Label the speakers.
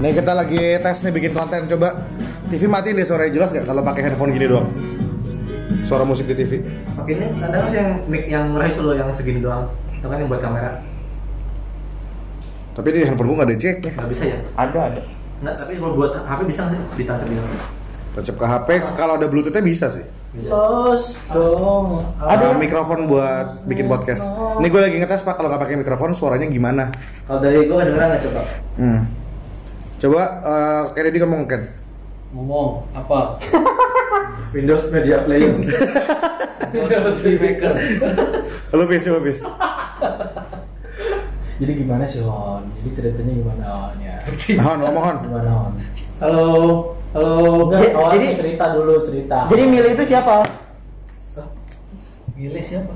Speaker 1: Nih kita lagi tes nih bikin konten coba. TV matiin deh suaranya jelas nggak kalau pakai handphone gini doang. Suara musik di TV.
Speaker 2: Oke ini ada nggak sih yang mic yang murah itu loh yang segini doang? Itu kan yang buat kamera.
Speaker 1: Tapi di handphone gua nggak ada jacknya.
Speaker 2: Nggak bisa ya?
Speaker 3: Ada ada.
Speaker 2: Nggak, tapi kalau buat HP bisa nggak sih ditancapin?
Speaker 1: Tancap ke HP kalau ada bluetoothnya bisa sih.
Speaker 2: Bisa.
Speaker 4: Los dong.
Speaker 1: Ada
Speaker 3: Ada.
Speaker 1: mikrofon buat bikin podcast. Nih gue lagi ngetes pak kalau nggak pakai mikrofon suaranya gimana?
Speaker 2: Kalau dari gue kedengeran nggak coba?
Speaker 1: Hmm. Coba eh Kennedy ngomong Ken.
Speaker 4: Ngomong apa?
Speaker 2: Windows Media Player.
Speaker 4: Filmmaker.
Speaker 1: Lu bis, lu bis.
Speaker 5: Jadi gimana sih Hon? Jadi ceritanya gimana Hon ya?
Speaker 1: Hon, ngomong Hon.
Speaker 5: Gimana Hon?
Speaker 4: Halo, halo.
Speaker 5: Enggak,
Speaker 3: Jadi-
Speaker 5: Hon
Speaker 3: jadi-
Speaker 5: cerita dulu cerita.
Speaker 3: Jadi milih itu siapa?
Speaker 4: Milih siapa?